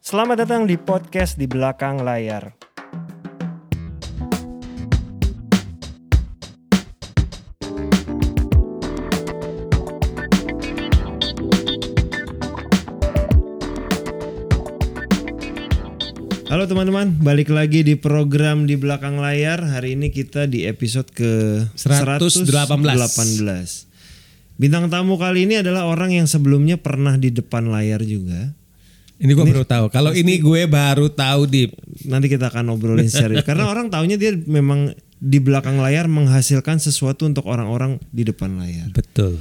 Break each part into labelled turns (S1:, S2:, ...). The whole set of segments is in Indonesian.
S1: Selamat datang di podcast di belakang layar. Halo teman-teman, balik lagi di program di belakang layar. Hari ini kita di episode ke
S2: 118.
S1: 118. Bintang tamu kali ini adalah orang yang sebelumnya pernah di depan layar juga.
S2: Ini gue baru tahu. Kalau ini gue baru tahu di
S1: Nanti kita akan obrolin serius karena orang taunya dia memang di belakang layar menghasilkan sesuatu untuk orang-orang di depan layar.
S2: betul.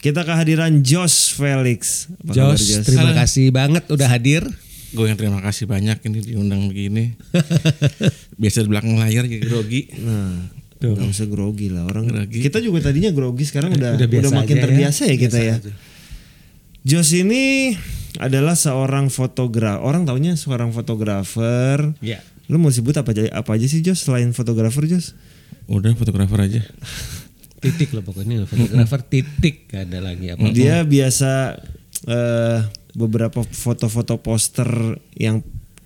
S1: Kita kehadiran Josh Felix. Apa kabar,
S2: Jos, terima kasih banget udah hadir.
S3: Gue yang terima kasih banyak ini diundang begini. Biasa di belakang layar gitu, jadi grogi.
S1: Nah, nggak usah grogi lah orang.
S3: Grogi.
S1: Kita juga tadinya grogi sekarang udah udah,
S2: Udah biasa
S1: makin
S2: aja ya.
S1: terbiasa ya kita ya. Josh ini adalah seorang fotografer. Orang taunya seorang fotografer.
S2: Iya.
S1: Lu mau sebut apa aja apa aja sih Jos selain fotografer Jos?
S3: Udah fotografer aja.
S2: Titik loh pokoknya fotografer titik gak ada lagi apa.
S1: Dia biasa eh beberapa foto-foto poster yang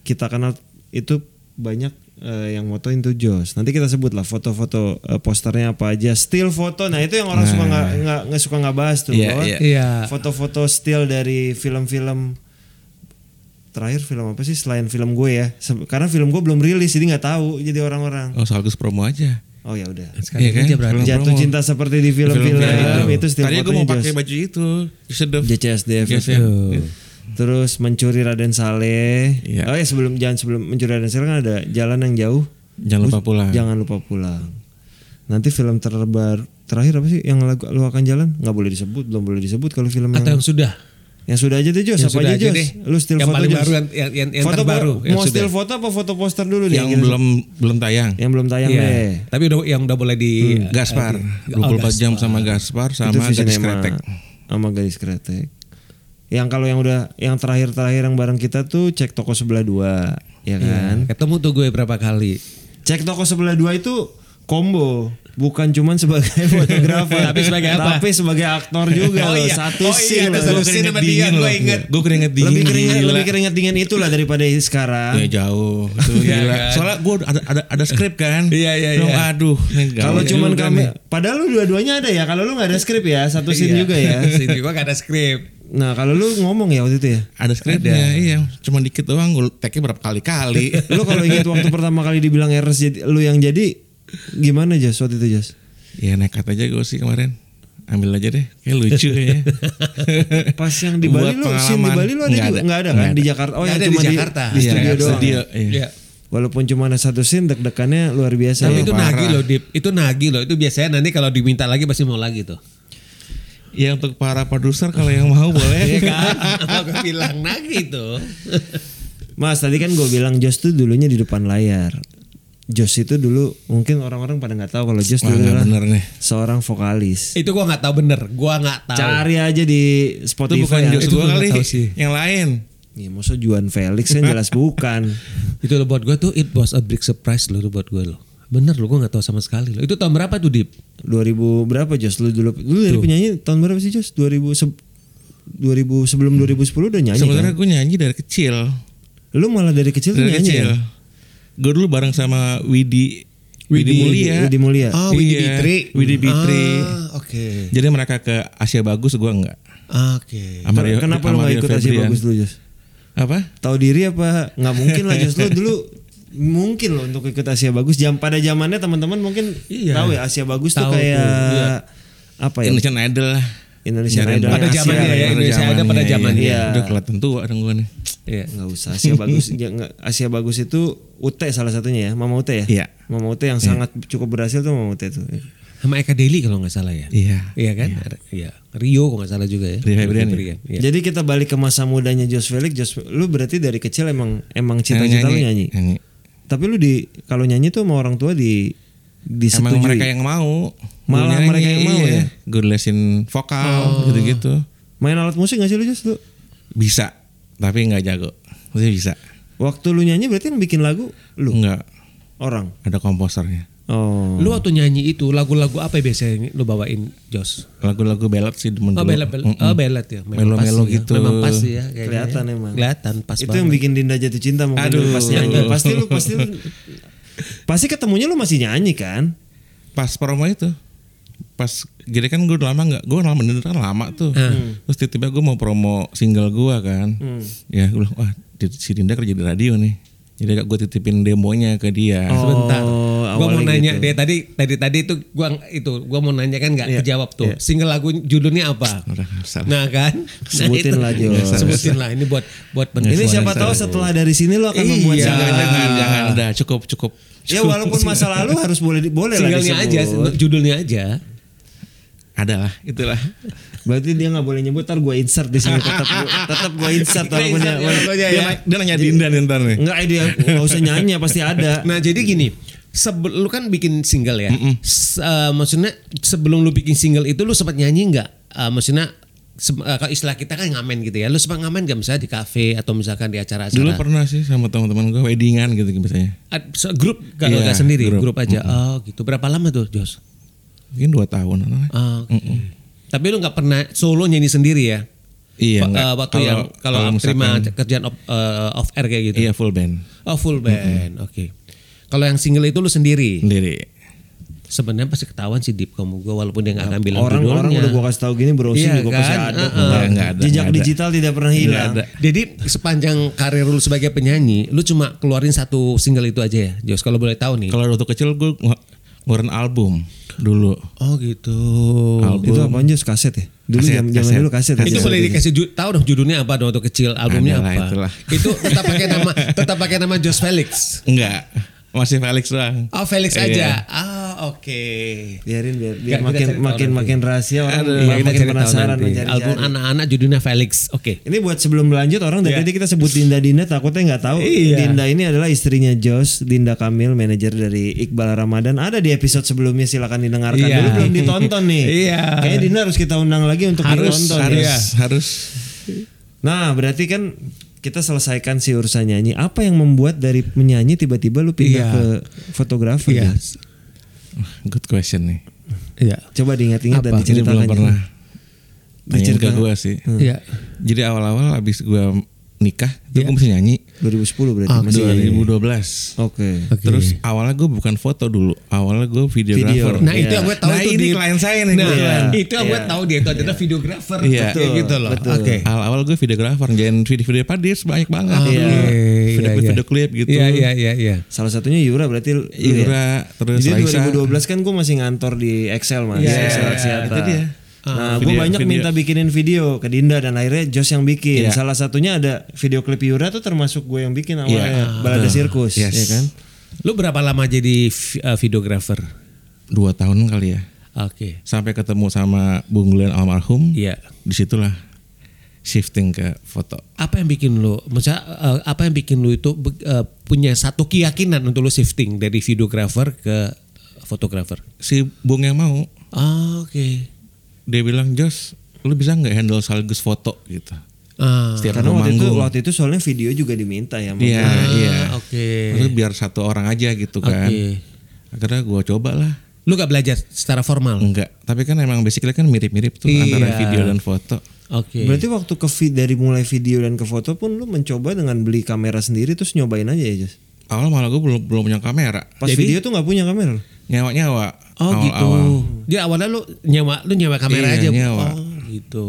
S1: kita kenal itu banyak eh, yang motoin tuh Jos. Nanti kita sebut lah foto-foto eh, posternya apa aja, still foto. Nah, itu yang orang suka nggak nggak nggak suka nggak bahas tuh.
S3: Iya,
S1: bahwa
S3: iya.
S2: Iya.
S1: Foto-foto still dari film-film terakhir film apa sih selain film gue ya? Se- Karena film gue belum rilis jadi nggak tahu jadi orang-orang.
S3: Oh sekaligus promo aja.
S1: Oh ya udah.
S2: Sekali aja berarti.
S3: Sebelum
S1: Jatuh
S3: promo.
S1: cinta seperti di film-film itu still
S3: Tadi gue mau
S1: fotonya Jos.
S3: pakai baju itu. Sedep.
S1: JCSDF
S3: Yes,
S1: itu.
S2: Iya.
S1: Terus mencuri Raden Saleh.
S3: Iya.
S1: Oh ya sebelum jangan sebelum mencuri Raden Saleh kan ada jalan yang jauh.
S3: Jangan lupa
S2: Ah.
S3: pulang.
S1: Jangan lupa pulang. Nanti film terbaru terakhir apa sih yang lagu lu akan jalan nggak boleh disebut belum boleh disebut kalau film
S2: Atau
S1: yang,
S2: yang sudah.
S1: yang sudah aja deh Jos
S2: Yang
S1: apa
S2: sudah
S1: aja
S2: aja
S1: Jos
S2: deh.
S1: lu still
S2: Yang
S1: foto
S2: paling
S1: Jos.
S2: baru, yang- yang- yang- yang
S1: foto
S2: terbaru,
S1: po-
S2: yang
S1: mau
S2: sudah.
S1: still foto apa foto poster dulu nih
S3: Yang belum belum tayang. Iya.
S1: yang belum tayang deh
S2: Iya. Tapi udah yang udah boleh di
S3: Gaspar. 24 jam sama Gaspar
S1: Oh, Itu
S3: sama
S1: Visinema
S3: gadis kretek.
S1: sama gadis kretek yang kalau yang udah yang terakhir-terakhir yang bareng kita tuh cek toko sebelah dua
S2: Iya.
S1: ya kan
S2: Ketemu tuh gue berapa kali.
S1: Cek toko sebelah dua itu combo, bukan cuman sebagai fotografer,
S2: Tapi sebagai apa?
S1: Tapi sebagai aktor juga.
S2: Oh
S1: loh.
S2: iya.
S1: Satu
S2: Oh
S1: scene
S2: iya,
S1: loh.
S2: ada satu
S1: Lebih
S2: scene
S1: keringet
S2: sama dia,
S1: dingin
S2: gua
S1: loh.
S2: ingat.
S3: Gue keringet dingin.
S1: lebih keringet,
S3: gila.
S1: lebih keringet dingin itulah daripada
S3: Ya
S1: sekarang.
S3: jauh. Itu gila. Soalnya gue ada ada ada skrip
S2: kan?
S3: kan.
S2: Iya, iya,
S3: Dong,
S2: iya.
S3: Aduh. ini gawat
S1: Kalau cuman
S3: juga
S1: kami,
S3: nih.
S1: padahal lu dua-duanya ada ya. Kalau lu nggak ada skrip ya, satu scene
S2: kan ya. Iya.
S1: juga ya.
S2: Scene juga gak ada skrip.
S1: Nah kalau lu ngomong ya waktu itu ya.
S3: ada skripnya iya cuma dikit doang gue tag-nya berapa kali-kali
S1: Lu kalau ingat waktu pertama kali dibilang Eres jadi lu yang jadi gimana Jas waktu itu Jas?
S3: Ya nekat aja gue sih kemarin Ambil aja deh Kayak lucu ya
S1: Pas yang di Bali
S3: Buat
S1: lu, scene di
S3: pengalaman.
S1: Bali lu ada juga
S3: Nggak ada.
S1: nggak ada
S3: Nggak
S1: kan
S3: ada.
S1: di Jakarta? Oh
S2: Nggak
S1: yang
S2: ada di
S1: cuma di,
S2: Jakarta.
S1: di
S2: Iya,
S1: studio doang.
S3: Studio iya.
S2: Iya.
S1: Walaupun cuma ada satu scene deg-degannya luar biasa
S2: Tapi
S1: ya.
S2: itu
S3: parah.
S2: nagih loh, Dip. Itu nagih loh. Itu biasanya nanti kalau diminta lagi pasti mau lagi tuh.
S3: Ya untuk para produser kalau yang mau
S2: Iya
S3: boleh
S2: kan? Apa gue bilang nagih tuh.
S1: Mas tadi kan gue bilang Jos tuh dulunya di depan layar. Jos itu dulu mungkin orang-orang pada nggak tahu kalau Jos
S3: Wah,
S1: dulu
S3: nggak
S1: adalah
S3: bener nih.
S1: seorang vokalis.
S2: itu gua nggak tahu bener. Gua nggak tahu.
S1: Cari aja di
S3: Itu
S1: Spotify.
S3: bukan
S1: ya.
S3: Jos
S2: itu
S3: gue
S2: gua
S3: kali
S2: nggak tahu sih.
S3: Yang lain
S1: Ya, maksud Juan Felix kan jelas bukan.
S2: Itu loh buat gue tuh it was a big surprise loh itu buat gue loh. Bener loh gue nggak tahu sama sekali loh. Itu tahun berapa tuh Dip?
S1: 2000 berapa Jos lu dulu? Lu dari penyanyi tahun berapa sih Jos? 2000 se- 2000 sebelum 2010 udah nyanyi kan?
S3: Hmm. Sebenarnya gue nyanyi dari kecil
S1: Lu malah dari kecil tuh
S3: Dari
S1: nyanyi
S3: kecil
S1: ya?
S3: Gue dulu bareng sama Widi
S1: Widi-
S3: Widi Mulia Iya,
S1: Widi Mulia.
S2: Ah, Widi Bitri.
S3: Widi Bitri
S2: Ah, oke.
S3: Jadi mereka ke Asia Bagus gue enggak
S2: Oke.
S3: Sama
S1: Ah,
S3: Rio-
S1: Kenapa lu
S3: sama
S1: gak
S3: Rio
S1: ikut Asia
S3: Febrian.
S1: Bagus dulu Jos?
S3: Apa?
S1: tahu diri apa nggak mungkin lah justru dulu mungkin loh untuk ikut Asia bagus jam pada zamannya teman-teman mungkin
S2: Iya.
S1: tahu ya Asia bagus tuh
S2: Tahu tuh,
S1: kayak
S2: iya.
S1: apa ya
S3: Indonesian Idol lah
S1: Indonesian
S3: Nyari
S1: Idol
S2: Pada
S1: yang
S2: zamannya
S1: Asia.
S2: ya, Indonesia Idol pada zamannya.
S3: iya.
S1: Iya.
S3: Udah kelihatan tua dong gue nih
S2: Iya.
S1: nggak usah Asia bagus ya, nggak- Asia bagus itu UT salah satunya ya Mama UT ya
S3: Iya.
S1: Mama UT yang sangat cukup berhasil tuh Mama UT tuh
S2: Sama Eka Deli kalau nggak salah ya.
S3: Iya.
S2: Iya kan? Iya. Rio kalau nggak salah juga ya.
S3: Rio Febrian ya?
S2: Iya.
S1: jadi kita balik ke masa mudanya Jos Felix Jos lu berarti dari kecil emang emang cita-cita lu nyanyi
S3: nyanyi.
S1: tapi lu di kalau nyanyi tuh sama orang tua di
S3: Emang
S1: disetujui
S3: mereka yang mau.
S1: Malah mereka yang mau ya? Oh.
S3: Gue lesin vokal gitu-gitu.
S1: main alat musik gak sih lu Jos lu
S3: Bisa, tapi nggak jago. Maksudnya bisa. Iya.
S1: Waktu lu nyanyi berarti yang bikin lagu lu
S3: Enggak,
S1: orang.
S3: ada komposernya.
S1: Oh.
S2: Lu waktu nyanyi itu lagu-lagu apa yang biasanya lu bawain Jos?
S3: Lagu-lagu ballad sih demen
S2: Oh
S3: dulu.
S2: belet, belet, oh, belet ya. Memang pas
S3: Melo-melo
S2: ya.
S3: gitu.
S2: Memang pas sih ya. kayaknya.
S1: Kelihatan emang.
S2: Kelihatan pas
S1: itu
S2: banget.
S1: yang bikin Dinda jatuh cinta mungkin
S3: Aduh.
S1: dulu pas nyanyi. Pasti lu pasti lu, pasti ketemunya lu masih nyanyi kan?
S3: Pas promo itu pas jadi kan gue udah lama nggak gue lama bener kan lama tuh
S2: Ah.
S3: terus tiba-tiba gue mau promo single gue kan
S2: Hmm.
S3: ya gue bilang wah di- si Dinda kerja di radio nih jadi gue titipin demonya ke dia
S2: Sebentar.
S1: Oh,
S2: gua mau
S1: awalnya
S2: nanya
S1: gitu. Iya,
S2: dia tadi tadi tadi itu gua itu gua mau nanya kan nggak kejawab tuh. Single lagu judulnya apa?
S3: Udah, nggak usah.
S2: Nah kan? Nah,
S1: Sebutin
S2: itu.
S1: lah, Jo.
S2: Sebutin lah ini buat buat pendengar.
S1: Ini siapa tahu setelah dari sini lu akan membuat
S2: Iya.
S1: single
S3: jangan
S1: lagi.
S3: jangan jangan Nah, udah cukup cukup
S1: Ya walaupun masa lalu harus boleh di- boleh lah
S2: Singlenya aja,
S1: disebut.
S2: judulnya aja.
S3: adalah itulah
S1: Berarti dia nggak boleh nyebut, ntar gue insert di sini tetap gua, tetap gue insert walaupun
S2: insert,
S1: walaupun-
S2: Pokoknya
S3: dia,
S2: ya.
S3: na- dia nanya Dinda nih ntar nih
S1: nggak eh, dia nggak usah nyanyi ya, pasti ada.
S2: Nah jadi gini, sebel, lu kan bikin single ya. S- eh, maksudnya sebelum lu bikin single itu lu sempat nyanyi nggak? Eh, maksudnya se- eh, kalau istilah kita kan ngamen gitu ya. Lu sempat ngamen gak misalnya di kafe atau misalkan di acara-acara?
S3: dulu pernah sih sama teman-teman gue weddingan gitu biasanya
S2: Ad- se- grup gak,
S3: Iya,
S2: gak sendiri, grup,
S3: grup.
S2: aja. Oh gitu. Berapa lama tuh Jos?
S3: mungkin dua tahun anak
S2: Ah, oke. Tapi lu nggak pernah solo nyanyi sendiri ya?
S3: Iya,
S2: Wa-
S3: nggak.
S2: eh, waktu
S3: Kalau-
S2: yang kalau
S3: kalau
S2: terima
S3: misalkan-
S2: kerjaan off, eh, off air kayak gitu.
S3: iya full band
S2: Oh full band, oke. Kalau yang single itu lu sendiri?
S3: sendiri
S2: Sebenarnya pasti ketahuan sih Deep kamu gue walaupun dia
S3: Iya.
S2: nggak akan bilang
S1: Orang
S2: judulnya.
S1: orang udah gue kasih tahu gini browsing
S2: Iya
S1: juga
S2: kan?
S1: pasti ada.
S2: Heeh.
S1: kok.
S3: Nggak ada,
S1: Jejak
S3: nggak ada.
S1: digital tidak pernah hilang.
S3: ada.
S2: Iya. Jadi sepanjang karir lu sebagai penyanyi, lu cuma keluarin satu single itu aja ya, Jos. Kalau boleh tahu nih.
S3: Iya. kalau waktu kecil gue ngu- ngeluarin album dulu
S2: Oh gitu.
S3: album
S1: Itu apaan Jus kaset ya? Dulu
S3: Kaset,
S1: zaman zaman
S3: kaset.
S1: dulu kaset. ya?
S2: Itu boleh dikasih ju- tahu dong judulnya apa dong waktu kecil, albumnya
S3: Adalah
S2: apa?
S3: itulah.
S2: Itu tetap pakai nama tetap pakai nama Jos Felix.
S3: enggak masih Felix doang
S2: Oh Felix
S3: Iya.
S2: aja. Ah oke.
S1: biarin biar, biar
S2: Nggak, kita
S1: makin
S2: cari tahu
S1: makin
S2: nanti.
S1: makin rahasia orang
S2: Aduh,
S1: makin,
S2: kita cari tahu
S1: penasaran
S2: nanti.
S1: mencari
S2: Album
S3: Iya.
S2: anak-anak judulnya Felix. Oke.
S1: Ini buat sebelum lanjut orang dari tadi kita sebut Dinda Dinda takutnya nggak tahu.
S2: Iya.
S1: Dinda ini adalah istrinya Jos, Dinda Kamil, manajer dari Iqbal Ramadan. Ada di episode sebelumnya silakan didengarkan.
S2: Iya.
S1: Dulu belum ditonton nih.
S2: Iya.
S1: Kayaknya Dinda harus kita undang lagi untuk
S2: Harus,
S1: ditonton.
S3: harus
S1: ya.
S3: harus
S1: Nah, berarti kan kita selesaikan si urusan nyanyi. Apa yang membuat dari menyanyi tiba-tiba lu pindah
S2: Iya.
S1: ke fotografer?
S2: Iya.
S1: Jos?
S3: good question nih
S2: Iya.
S1: Coba diingat-ingat dan
S2: Apa?
S3: jadi
S1: diceritakan. ya.
S3: belum
S1: Jos.
S3: pernah Tanyain ke
S1: Diceritakan.
S3: gue sih
S2: Iya.
S3: jadi awal-awal abis gue nikah itu
S2: Iya.
S3: gue mesti nyanyi
S1: 2010 berarti
S2: Ah,
S1: masih.
S3: 2012
S1: Oke.
S2: Oke.
S3: Terus awalnya gue bukan foto dulu, awalnya gue
S1: Video.
S3: videografer.
S2: Nah itu
S1: Iya.
S2: yang gue tahu
S3: Nah,
S2: itu
S3: ini
S2: dia-
S3: klien saya nih,
S2: Nah,
S3: kebetulan.
S2: itu yang gue tahu dia itu adalah videografer
S3: Iya.
S2: Kayak gitu loh.
S1: Betul.
S2: Oke.
S3: Awal-awal gue videografer, jadi video-video padis banyak banget.
S2: Oke,
S3: Iya. Video-video
S2: iya,
S3: video klip gitu.
S2: Iya iya iya. iya.
S1: Salah satunya Yura berarti lu ya?
S3: Yura, terus
S1: Jadi
S3: Raisa.
S1: 2012 kan gue masih ngantor di Excel mas,
S2: Iya,
S1: Excel Axiata.
S3: itu dia.
S1: Nah, gue
S3: Video-
S1: banyak
S3: video.
S1: minta bikinin video ke Dinda dan akhirnya Jos yang bikin.
S3: Iya.
S1: Salah satunya ada video klip Yura tuh termasuk gue yang bikin awalnya balada sirkus,
S3: Ah. Yes.
S1: ya kan?
S2: Lu berapa lama jadi vi- eh, videografer?
S3: Dua tahun kali ya.
S2: Oke.
S3: Sampai ketemu sama Bung Glenn almarhum.
S2: Iya.
S3: Disitulah shifting ke foto.
S2: Apa yang bikin lu, maksudnya eh, apa yang bikin lu itu be- eh, punya satu keyakinan untuk lu shifting dari videografer ke fotografer?
S3: Si Bung yang mau,
S2: Ah, Oke.
S3: dia bilang Jos, lu bisa nggak handle sekaligus foto gitu.
S2: Ah,
S3: Setiap
S1: Karena waktu
S3: gua
S1: itu
S3: manggung.
S1: waktu itu soalnya video juga diminta ya. Mas.
S3: Iya, iya.
S2: Ah, oke.
S3: Maksudnya biar satu orang aja gitu kan.
S2: Oke.
S3: Akhirnya gue coba lah.
S2: Lu gak belajar secara formal?
S3: Enggak, tapi kan emang basically kan mirip-mirip tuh
S2: Iya.
S3: antara video dan foto.
S2: Oke.
S1: Berarti waktu ke vi- dari mulai video dan ke foto pun lu mencoba dengan beli kamera sendiri terus nyobain aja ya Jos.
S3: Awal malah gue belum belum punya kamera.
S1: Pas video tuh nggak punya kamera.
S3: Nyawa-nyawa.
S2: Oh
S3: awal-awal.
S2: gitu. Dia awalnya lu nyewa lu nyewa kamera
S3: Iya,
S2: aja. Bu.
S3: nyewa.
S2: Oh gitu.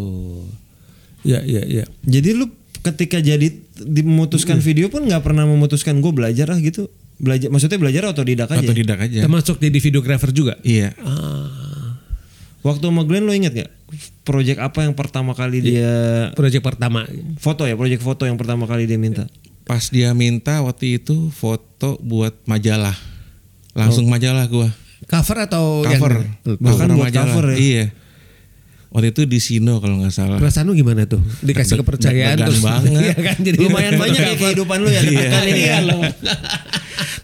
S2: Ya ya ya.
S1: Jadi lu ketika jadi dimemutuskan
S2: Hmm.
S1: video pun nggak pernah memutuskan gue belajar ah gitu. Belajar maksudnya belajar ya? otodidak aja.
S3: Otodidak aja.
S2: Termasuk jadi videografer juga.
S3: Iya.
S2: Ah.
S1: Waktu sama Glenn lo inget gak? Project apa yang pertama kali
S2: Iya.
S1: dia
S2: Proyek pertama.
S1: foto ya? Project foto yang pertama kali dia minta.
S3: Pas dia minta waktu itu foto buat majalah.
S2: Oh.
S3: Langsung majalah gua.
S2: Cover atau
S3: Cover.
S2: yang
S1: Bahkan buat cover ya?
S3: Iya. Waktu itu di Sino kalau nggak salah.
S2: Perasaan lu gimana tuh? Dikasih
S3: Deg-
S2: kepercayaan
S3: deg-degan
S2: terus
S3: banget.
S2: Iya kan jadi Iya.
S1: Lumayan banyak ya kehidupan lu ya deg-degan ini
S2: kan
S1: ya.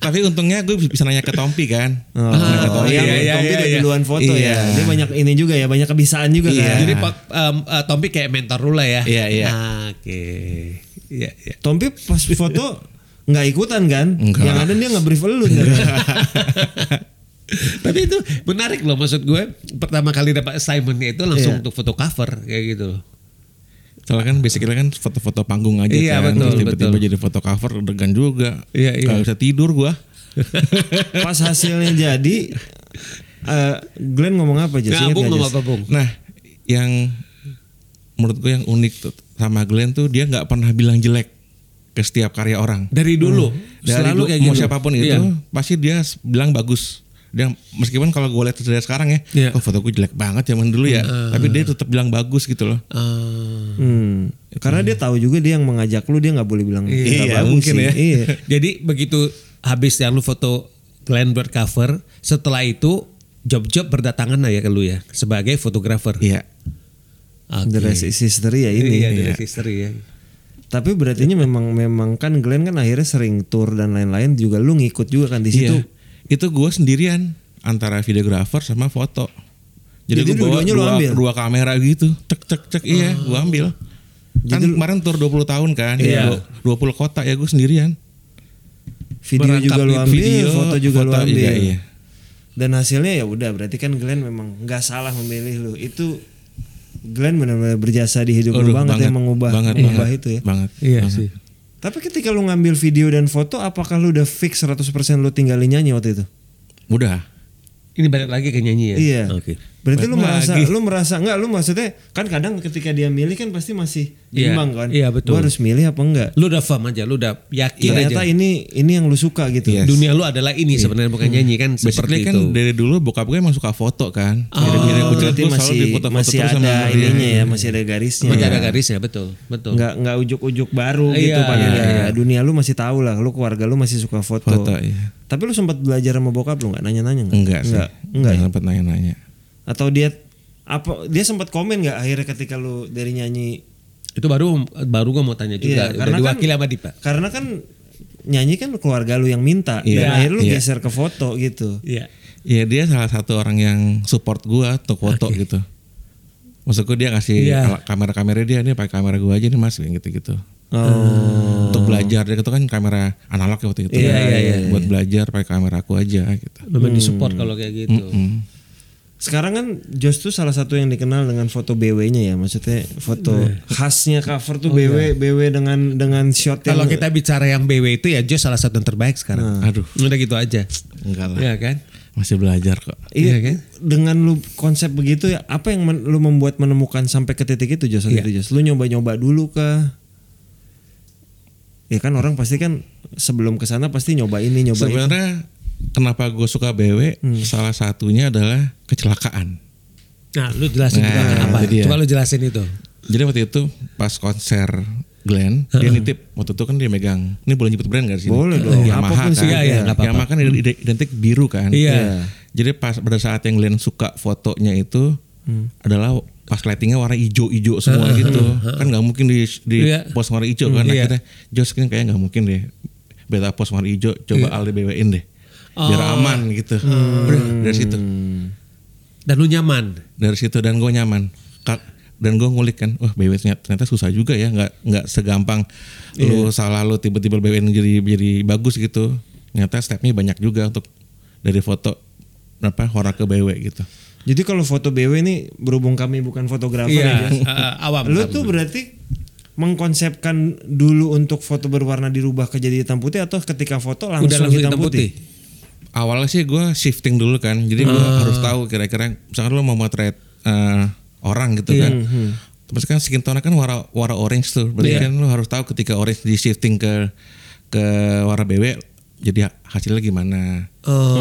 S3: tapi untungnya gue bisa nanya ke Tompi kan.
S1: Oh,
S2: Oh,
S1: yang
S2: iya, iya,
S1: Tompi
S2: iya,
S1: udah
S2: iya.
S1: duluan foto
S3: Iya.
S1: ya. Dia banyak ini juga ya, banyak kebiasaan juga
S3: Iya.
S1: kan.
S2: Jadi Pak em, eh, Tompi kayak mentor lu lah ya.
S3: Iya, iya.
S2: Ah, Oke. Iya iya.
S1: Tompi pas foto nggak ikutan kan?
S3: Enggak.
S1: Yang ada dia nge-brief lu. kan?
S2: Tapi itu menarik loh maksud gue. Pertama kali dapat assignmentnya itu
S1: Iya.
S2: langsung untuk foto cover kayak gitu. loh.
S3: Soalnya kan basically kan foto-foto panggung aja
S2: Iya,
S3: kan.
S2: betul,
S3: Terus tiba-tiba
S2: betul.
S3: jadi foto cover degan juga.
S2: Iya, iya.
S3: Gak bisa tidur gua.
S1: Pas hasilnya jadi eh, Glenn ngomong apa aja?
S2: Nah, Bung ngomong apa Bung?
S3: Nah, yang menurut gue yang unik tuh sama Glenn tuh dia nggak pernah bilang jelek ke setiap karya orang.
S2: Hmm. Dari dulu
S3: Dari
S2: selalu
S3: dulu,
S2: kayak
S3: mau
S2: gitu.
S3: siapapun itu
S2: Iya.
S3: pasti dia s- bilang bagus. Dia meskipun kalau gue lihat dari sekarang ya,
S2: Iya.
S3: oh fotoku jelek banget zaman dulu ya, tapi dia tetap bilang bagus gitu loh.
S2: Ah.
S1: Hmm. Karena dia tahu juga dia yang mengajak lu dia nggak boleh bilang "Nggak
S3: Iya,
S1: bagus
S3: mungkin
S1: sih."
S3: ya.
S1: Iya.
S2: Jadi begitu habis yang lu foto Glenn Bird cover, setelah itu job-job berdatangan lah ya ke lu ya sebagai fotografer.
S3: Iya.
S1: The rest is history ya ini.
S2: Iya, dari history ya.
S1: Tapi berarti memang memang kan Glenn kan akhirnya sering tour dan lain-lain juga lu ngikut juga kan di situ.
S3: Itu itu gue sendirian antara videografer sama foto. Jadi,
S1: Jadi
S3: gue bawa
S1: dua-duanya lu
S3: dua,
S1: ambil? Oh.
S3: dua kamera gitu, cek cek cek iya, gue ambil. Kan kemarin tur 20 tahun kan,
S2: Iya.
S3: dua 20 kota ya gue sendirian.
S1: Video
S2: Merangkap
S1: juga lu
S2: itu.
S1: ambil, foto juga lu
S3: foto
S1: ambil.
S3: juga, iya.
S1: Dan hasilnya ya udah berarti kan Glenn memang nggak salah memilih lu. Itu Glenn benar-benar berjasa di hidup lu
S3: Aduh,
S1: banget, yang mengubah
S3: banget,
S1: mengubah
S3: banget,
S1: itu ya.
S3: Banget.
S2: Iya
S3: banget.
S2: sih.
S1: Tapi ketika lu ngambil video dan foto apakah lu udah fix 100% lu tinggalin nyanyi waktu itu?
S3: Udah.
S2: Ini balik lagi ke nyanyi ya.
S1: Iya.
S2: Oke.
S1: Berarti
S3: Baik
S1: lu merasa
S3: lagi.
S1: lu merasa enggak lu maksudnya kan kadang ketika dia milih kan pasti masih
S2: Iya,
S1: bimbang kan.
S2: iya, betul. Iya,
S1: Gua harus milih apa enggak?
S2: Lu udah firm aja, lu udah yakin
S1: Ternyata iya.
S2: aja.
S1: ini ini yang lu suka gitu.
S3: Iya.
S2: Dunia lu adalah ini sebenarnya bukan nyanyi kan
S3: Basically
S2: seperti
S3: kan
S2: itu.
S3: dari dulu bokap gue emang suka foto kan. Jadi
S1: Oh, berarti masih masih ada
S3: Iya,
S1: ininya ya, masih ada garisnya.
S2: Masih ada
S1: ya.
S2: garisnya, betul. Betul.
S1: Enggak enggak ujuk-ujuk baru gitu
S2: Iya,
S1: Pak.
S2: iya,
S1: Iya, Dunia lu masih tahu lah, lu keluarga lu masih suka foto.
S3: Foto, iya.
S1: Tapi lu sempat belajar sama bokap lu enggak nanya-nanya enggak?
S3: Enggak sih.
S1: Enggak. ya?
S3: Enggak sempat nanya-nanya.
S1: Atau dia apa dia sempat komen nggak akhirnya ketika lu dari nyanyi
S2: Itu baru baru gua mau tanya
S1: Iya,
S2: juga. udah
S1: karena kan-
S2: diwakili sama Dipa.
S1: karena kan nyanyi kan keluarga lu yang minta dan
S3: Iya,
S1: akhirnya lu
S3: iya.
S1: geser ke foto gitu
S2: Iya.
S3: Iya dia salah satu orang yang support gua untuk foto gitu. Maksudku dia ngasih
S2: Iya.
S3: ala- kamera-kamera dia nih pakai kamera gua aja nih mas kayak gitu-gitu.
S1: oh
S3: Untuk belajar dia itu kan kamera analog ya waktu itu.
S2: Iya, iya, iya.
S3: Buat belajar pakai kamera aku aja gitu.
S1: Hmm.
S2: Memang disupport kalau kayak gitu.
S3: Hmm.
S1: sekarang kan Jos tuh salah satu yang dikenal dengan foto BW-nya ya maksudnya foto
S3: Iya.
S1: khasnya cover
S3: Oh,
S1: tuh BW BW dengan dengan shot yang
S2: Kalau kita bicara yang BW itu ya Jos salah satu yang terbaik sekarang.
S3: Aduh.
S2: Udah gitu aja.
S3: Enggak lah.
S2: Iya kan?
S3: Masih belajar kok.
S1: Iya
S2: Iya kan?
S1: dengan lu konsep begitu ya apa yang men- lu membuat menemukan sampai ke titik itu Jos waktu
S2: Iya.
S1: itu, Jos? Lu nyoba-nyoba dulu kah? Ya kan orang pasti kan sebelum ke sana pasti nyoba ini nyoba itu.
S3: Sebenarnya kenapa gue suka BW salah satunya adalah kecelakaan.
S2: Nah, lu jelasin ya. juga
S3: Nah,
S2: kenapa.
S3: itu dia.
S2: Coba lu jelasin itu.
S3: Jadi waktu itu pas konser Glenn dia nitip waktu itu kan dia megang ini boleh nyebut brand gak sih?
S1: Boleh dong.
S3: Yamaha
S2: Apapun
S3: kan.
S2: sih, iya, iya, nggak apa-apa.
S3: Yamaha kan ide- identik biru kan.
S2: Iya.
S3: Jadi pas pada saat yang Glenn suka fotonya itu
S2: Hmm.
S3: adalah pas lightingnya warna hijau-hijau semua gitu. Kan nggak mungkin di di
S2: Iya.
S3: pos warna hijau kan
S2: Hmm, iya.
S3: akhirnya Jos kan kayak nggak mungkin deh. Beta pos warna hijau
S2: Iya.
S3: coba Aldi BW-in deh. Biar
S2: Oh.
S3: aman gitu.
S2: Hmm.
S3: Udah, dari situ
S2: Dan lu nyaman.
S3: dari situ dan gue nyaman Ka- dan gue ngulik kan wah BW ternyata, ternyata susah juga ya nggak nggak segampang lu salah lu tiba-tiba BW jadi jadi bagus gitu ternyata stepnya banyak juga untuk dari foto apa hora ke BW gitu
S1: Jadi kalau foto BW ini berhubung kami bukan fotografer
S2: Iya,
S1: ya. Jos.
S2: eh, eh, awam.
S1: Lu tuh berarti mengkonsepkan dulu untuk foto berwarna dirubah ke jadi hitam putih atau ketika foto langsung,
S2: udah langsung
S1: hitam, putih?
S3: awalnya sih gue shifting dulu kan jadi gue harus tahu kira-kira misalkan lu mau motret eh, orang gitu kan terus kan skin tone kan warna warna orange tuh berarti kan lu harus tahu ketika orange di shifting ke ke warna BW jadi hasilnya gimana
S2: Oh,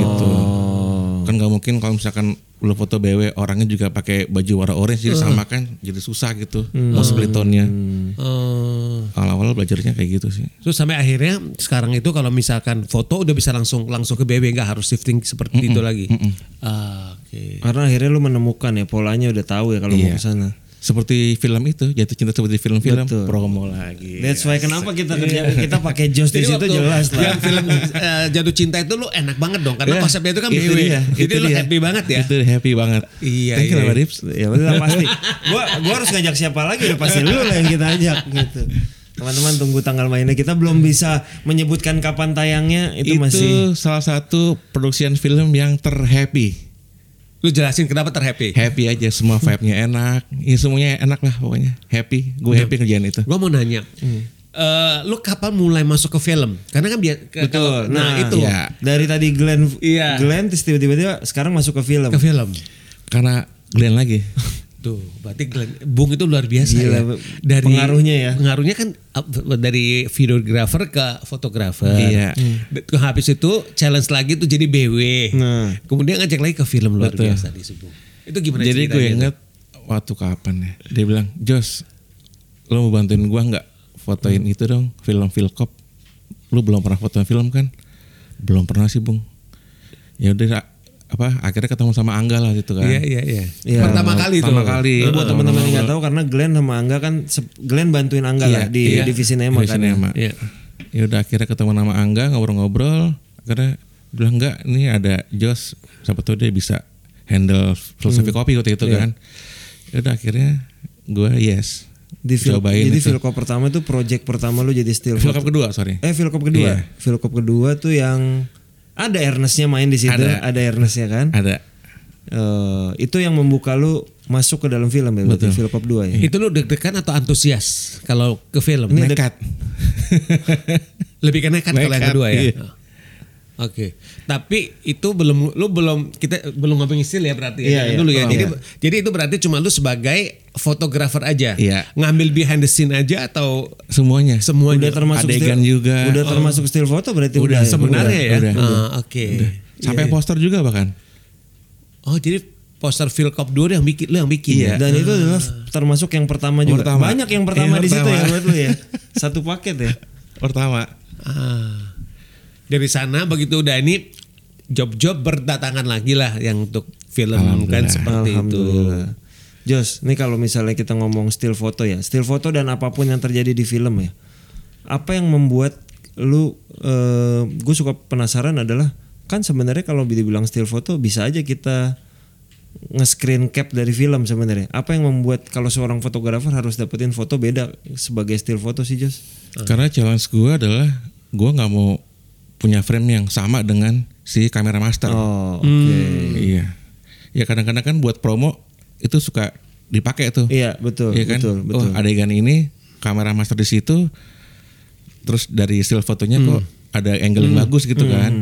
S3: gitu
S1: Oh.
S3: kan nggak mungkin kalau misalkan lu foto BW orangnya juga pakai baju warna orange jadi sama kan jadi susah gitu mau split tone-nya
S2: Eh,
S3: awal-awal belajarnya kayak gitu sih
S2: terus sampai akhirnya sekarang itu kalau misalkan foto udah bisa langsung langsung ke BB nggak harus shifting seperti itu lagi. Ah, Oke.
S1: Karena akhirnya lu menemukan ya polanya udah tahu ya kalau mau
S3: Iya.
S1: ke sana.
S3: seperti film itu jatuh cinta seperti film-film promo lagi
S1: That's why kenapa kita kerja kita pakai Jos di
S2: Iya. Jadi
S1: situ
S2: waktu
S1: jelas
S2: yang
S1: lah.
S2: film eh, Jatuh Cinta itu lu enak banget dong karena
S3: Ya,
S2: konsepnya itu kan
S3: itu
S2: BW.
S3: dia,
S2: Jadi
S3: itu
S2: lu
S3: dia.
S2: happy banget ya.
S3: Itu happy banget.
S2: Iya,
S3: Thank you
S2: iya.
S3: lah, Rips.
S1: Ya udah pasti. Gua gua harus ngajak siapa lagi udah pasti lu lah yang kita ajak gitu. Teman-teman tunggu tanggal mainnya. Kita belum bisa menyebutkan kapan tayangnya. Itu,
S3: itu
S1: masih
S3: salah satu production film yang terhappy
S2: Lu jelasin kenapa terhappy.
S3: happy aja semua vibe-nya enak ya semuanya enak lah pokoknya happy gue happy kerjaan itu
S2: Gua mau nanya. eh, lu kapan mulai masuk ke film? Karena kan biar ke- kalau- nah, itu
S1: iya. dari tadi Glenn
S2: Iya.
S1: Glenn terus tiba-tiba sekarang masuk ke film.
S2: ke film.
S3: karena Glenn lagi
S2: Tuh, berarti Glenn- Bung itu luar biasa
S1: Gila,
S2: ya.
S1: Bu. Pengaruhnya ya.
S2: Pengaruhnya kan uh, dari videographer ke fotografer.
S3: Iya.
S2: Ke habis itu challenge lagi tuh jadi BW.
S1: Nah.
S2: Kemudian ngajak lagi ke film luar biasa di Subung. Itu gimana
S3: jadi gue
S2: ceritanya?
S3: inget waktu kapan ya dia bilang Jos lo mau bantuin gue nggak fotoin
S2: Hmm.
S3: itu dong film Vilkop lu belum pernah fotoin film kan belum pernah sih bung ya udah a- apa akhirnya ketemu sama Angga lah gitu kan
S2: Iya, iya, iya.
S1: Iya.
S2: Pertama kali itu.
S3: Pertama kali.
S1: Ini buat teman-teman yang nggak tahu karena Glenn sama Angga kan se- Glenn bantuin Angga lah di
S3: Iya,
S1: divisi Nema
S3: divisi
S1: kan.
S3: Nema.
S2: Iya.
S3: ya udah akhirnya ketemu nama Angga ngobrol-ngobrol akhirnya dia bilang enggak ini ada Jos siapa tahu dia bisa handle filosofi
S1: Hmm.
S3: kopi
S1: Iya.
S3: waktu itu kan ya udah akhirnya gue yes
S1: Di fil-
S3: cobain
S1: jadi
S3: itu.
S1: Vilkop pertama tuh project pertama lu jadi still
S3: Film
S1: photo.
S3: Cup kedua Iya. sorry
S1: Eh Vilkop kedua. Vilkop kedua tuh yang ada Ernestnya main di situ, ada,
S3: Ada.
S1: Ernestnya kan.
S3: ada
S1: Eh, itu yang membuka lu masuk ke dalam film ya berarti Vilkop 2 ya.
S2: Itu lu deg-degan atau antusias kalau ke film?
S3: nekat
S2: Lebih ke nekat kalau yang
S3: Nekat,
S2: kedua ya.
S3: iya.
S2: Oh. Oke, tapi itu belum lu belum kita belum ngomongin still ya berarti
S1: Iya,
S2: ya, jangan
S1: iya,
S2: dulu ya.
S1: belum,
S2: Jadi
S1: iya.
S2: jadi itu berarti cuma lu sebagai fotografer aja.
S3: Iya.
S2: Ngambil behind the scene aja atau
S3: semuanya
S1: Udah
S2: semuanya
S1: termasuk
S3: adegan juga.
S1: Udah termasuk still photo berarti udah. ya?
S2: sebenarnya ya.
S3: udah,
S2: Ah, Oke.
S1: Iya,
S3: sampai poster juga bahkan
S2: Oh, jadi poster Philcop 2 yang bikin lu yang bikin. ya?
S3: Iya.
S1: Dan itu adalah termasuk yang pertama juga.
S3: Pertama.
S1: Banyak yang pertama
S3: Yang
S1: di situ
S3: pertama.
S1: ya buat lu ya. Satu paket ya.
S3: pertama
S2: Ah. Dari sana begitu udah ini job-job berdatangan lagi lah yang untuk film kan seperti itu.
S1: Alhamdulillah. Jos, ini kalau misalnya kita ngomong still foto ya, still foto dan apapun yang terjadi di film ya, apa yang membuat lu, gue suka penasaran adalah kan sebenarnya kalau dibilang still foto bisa aja kita nge-screen cap dari film sebenarnya. Apa yang membuat kalau seorang fotografer harus dapetin foto beda sebagai still foto sih Jos?
S3: Ah. karena challenge gue adalah gue nggak mau punya frame yang sama dengan si kamera master
S1: Oh, oke.
S3: Iya. Ya kadang-kadang kan buat promo itu suka dipakai tuh.
S1: Iya betul,
S3: Iya kan?
S1: betul, betul.
S3: Oh, adegan ini kamera master di situ terus dari hasil fotonya
S1: Hmm.
S3: kok ada angle yang bagus gitu kan.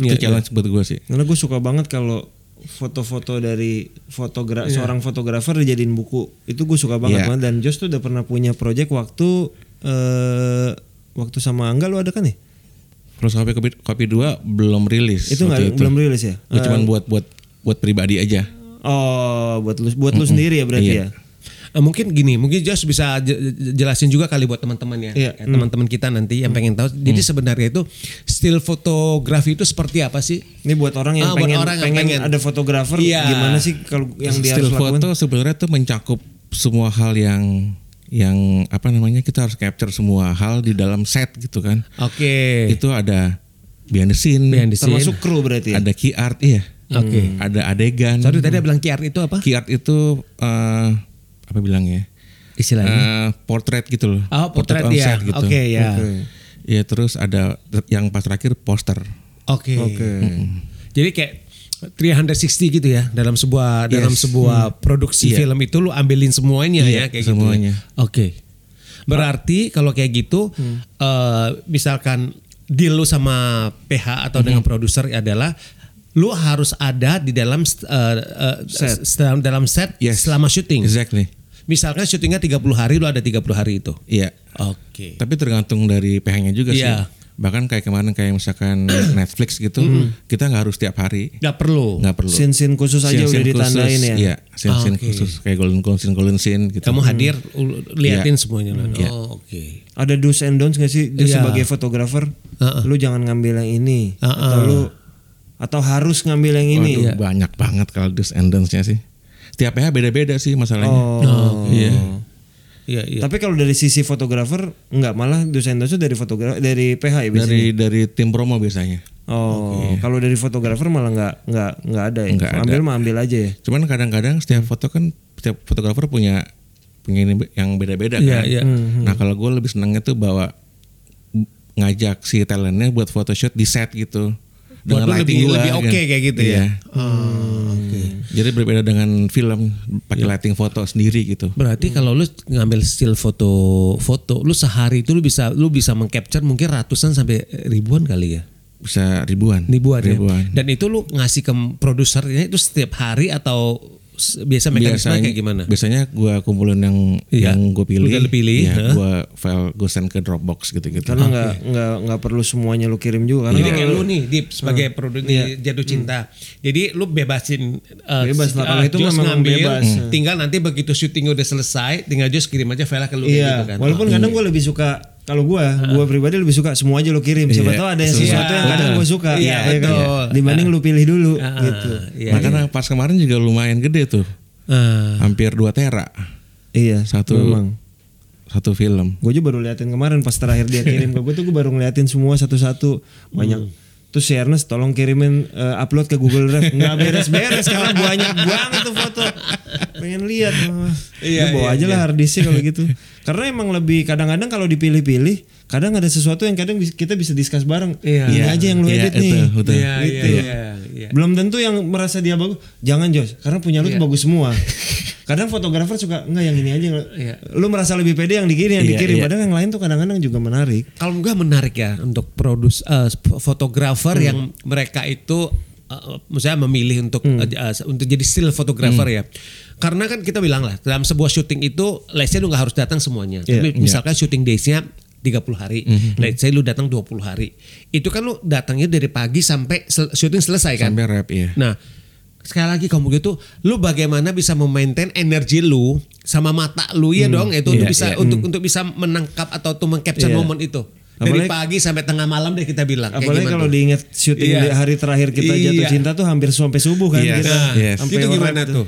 S1: Iya,
S3: Itu challenge buat gue sih.
S1: Karena gue suka banget kalau foto-foto dari fotogra seorang fotografer dijadiin buku. Itu gue suka banget.
S3: Iya.
S1: banget. Dan Jos tuh udah pernah punya project waktu eh waktu sama Angga lu ada kan ya?
S3: Terus kopi kopi, kopi 2 belum rilis.
S1: Itu
S3: waktu
S1: nggak belum rilis ya?
S3: Gua cuman buat buat buat pribadi aja.
S1: Oh, buat lu buat lu sendiri ya berarti ya?
S2: Eh, mungkin gini, mungkin Jos bisa je- je- jelasin juga kali buat teman-teman ya,
S1: Iya.
S2: Ya, teman-teman kita nanti yang pengen tahu. Jadi sebenarnya itu still fotografi itu seperti apa sih?
S1: Ini buat orang yang
S2: Ah, buat
S1: pengen
S2: orang yang
S1: pengen,
S2: pengen.
S1: ada fotografer
S2: Iya.
S1: gimana sih kalau yang dia
S3: Still
S1: harus lakukan?
S3: foto sebenarnya tuh mencakup semua hal yang yang apa namanya kita harus capture semua hal di dalam set gitu kan.
S2: Oke.
S3: Itu ada behind the scene,
S2: Eh. Behind the scene.
S1: Termasuk kru berarti ya?
S3: ada key art iya.
S2: Oke.
S3: Ada adegan.
S2: Sorry tadi bilang QR itu apa?
S3: Key art itu eh, apa bilangnya?
S2: Istilahnya.
S3: Eh, portrait gitu loh.
S2: oh, potret
S3: on
S2: ya.
S3: set gitu.
S2: Oke ya. Oke.
S3: Iya, terus ada yang pas terakhir poster.
S1: Oke.
S2: Jadi kayak 360 gitu ya dalam sebuah dalam sebuah produksi film itu lu ambilin semuanya ya kayak
S3: Hmm. Iya. semuanya.
S2: gitu. ya. Oke. Berarti kalau kayak gitu
S3: Hmm.
S2: eh, misalkan deal lu sama PH
S3: Hmm.
S2: atau dengan produser adalah lu harus ada di dalam eh, eh, s- dalam dalam set
S3: Yes.
S2: selama syuting.
S3: Exactly.
S2: Misalkan syutingnya 30 hari lu ada 30 hari itu.
S3: Iya.
S2: Oke.
S3: Tapi tergantung dari PH-nya juga
S2: Iya.
S3: sih. Bahkan kayak kemarin kayak misalkan Netflix gitu,
S2: Mm-hmm.
S3: kita nggak harus tiap hari,
S2: Nggak perlu.
S3: nggak perlu.
S1: Scene-scene khusus aja udah
S3: Scene-scene
S1: ditandain
S3: khusus,
S1: ya.
S3: Iya, scene-scene khusus kayak golden scene, golden scene gitu.
S2: Ah, Kamu hadir lu- liatin
S3: Iya.
S2: semuanya.
S3: Hmm.
S2: Oh, oke.
S1: Ada do's and don'ts gak sih Dia
S2: Iya.
S1: sebagai fotografer?
S2: Heeh.
S1: Lu jangan ngambil yang ini
S2: Heeh.
S1: atau lu atau harus ngambil yang ini.
S2: ya.
S3: Waduh, banyak banget kalau do's and don'ts-nya sih. Tiap PH beda-beda sih masalahnya.
S2: Oh,
S1: Oh.
S3: Iya.
S2: Iya, iya.
S1: Tapi kalau dari sisi fotografer nggak malah dosen dosen dari fotografer dari PH ya biasanya.
S3: Dari dari tim promo biasanya.
S1: Oh, kalau dari fotografer malah nggak nggak nggak ada ya.
S3: Nggak ada.
S1: ambil mah ambil aja ya.
S3: Cuman kadang-kadang setiap foto kan setiap fotografer punya pengen yang beda-beda
S2: Iya,
S3: kan.
S2: iya.
S3: Nah kalau gue lebih senangnya tuh bawa ngajak si talentnya buat photoshoot di set gitu
S2: Buat lu lebih-
S3: gua,
S2: lebih oke kayak gitu ya?
S3: Iya.
S1: Hmm.
S3: Hmm. Jadi berbeda dengan film pakai
S2: Iya.
S3: lighting foto sendiri gitu.
S2: Berarti kalau lu ngambil still foto foto, lu sehari itu lu bisa lu bisa mengcapture mungkin ratusan sampai ribuan kali ya.
S3: Bisa ribuan.
S2: Ribuan, ya?
S3: Ribuan.
S2: Dan itu lu ngasih ke produsernya itu setiap hari atau s- biasa mekanisme kayak gimana?
S3: Biasanya gue kumpulin yang
S2: Iya.
S3: yang gue pilih,
S2: Udah lu pilih,
S3: ya,
S2: heeh.
S3: gue file gue send ke Dropbox gitu-gitu.
S1: karena nggak nggak nggak perlu semuanya lu kirim juga
S2: Jadi
S1: karena
S3: iya.
S2: kayak lu nih Dip
S3: Hmm.
S2: sebagai produk di jatuh cinta. Jadi lu bebasin uh,
S1: Bebas lah,
S2: uh,
S1: kalau itu
S2: Jos
S1: memang
S2: ngambil,
S1: bebas. Hmm.
S2: Tinggal nanti begitu syuting udah selesai, tinggal just kirim aja file ke lu kayak
S1: iya
S2: gitu kan.
S1: walaupun kadang gue lebih suka kalau gue gue pribadi lebih suka semua aja lu kirim siapa
S3: Iya.
S1: tahu ada yang
S3: Betul.
S1: sesuatu yang kadang gue suka
S2: Iya,
S1: ya kan?
S2: betul.
S1: dibanding lu pilih dulu
S2: Ah,
S1: gitu
S2: Iya.
S3: Makanya pas kemarin juga lumayan gede tuh,
S2: Ah.
S3: hampir 2 tera
S1: iya
S3: satu satu film.
S1: gue juga baru liatin kemarin pas terakhir dia kirim ke gue tuh gue baru ngeliatin semua satu-satu banyak
S2: Hmm.
S1: tuh si Ernest tolong kirimin eh, upload ke Google Drive nggak beres-beres karena banyak banget tuh foto pengen lihat Wah,
S2: Iya,
S1: lu bawa aja lah harddisknya kalau gitu karena emang lebih kadang-kadang kalau dipilih-pilih kadang ada sesuatu yang kadang bis- kita bisa discuss bareng
S2: Iya.
S1: ini aja yang lu
S3: Iya,
S1: edit
S3: itu,
S1: nih
S3: betul.
S2: Iya, iya,
S1: Gitu.
S2: iya, iya.
S1: belum tentu yang merasa dia bagus jangan Jos karena punya lu tuh bagus semua kadang fotografer suka enggak yang ini aja yang lu-
S2: Iya.
S1: lu merasa lebih pede yang dikirim yang
S3: Iya,
S1: dikirim
S3: iya.
S1: padahal yang lain tuh kadang-kadang juga menarik
S2: Kalau gue menarik ya untuk produs eh, fotografer
S3: Hmm.
S2: yang mereka itu eh, misalnya memilih untuk
S3: Hmm.
S2: eh, eh, untuk jadi still fotografer ya. Karena kan kita bilang lah dalam sebuah syuting itu let's say lu nggak harus datang semuanya.
S3: Iya,
S2: Tapi misalkan syuting days-nya 30 hari.
S3: Hmm,
S2: Let's say lu datang 20 hari. Itu kan lu datangnya dari pagi sampai sel- syuting selesai kan.
S3: Sampai rap ya.
S2: Nah, sekali lagi kamu gitu, lu bagaimana bisa memaintain energi lu sama mata lu ya dong itu untuk
S3: Iya,
S2: bisa
S3: iya.
S2: untuk untuk bisa menangkap atau tuh mengcapture
S1: Iya.
S2: momen itu. Dari
S1: Apalagi-
S2: pagi sampai tengah malam deh kita bilang. Kayak
S1: apalagi
S2: gimana
S1: kalau
S2: tuh?
S1: diingat syuting
S2: Iya.
S1: di hari terakhir kita jatuh
S2: Iya.
S1: cinta tuh hampir sampai subuh kan
S3: Iya.
S1: kita
S2: Nah,
S3: Yes.
S1: Sampai
S2: itu
S1: orang
S2: gimana
S1: tuh.
S2: tuh?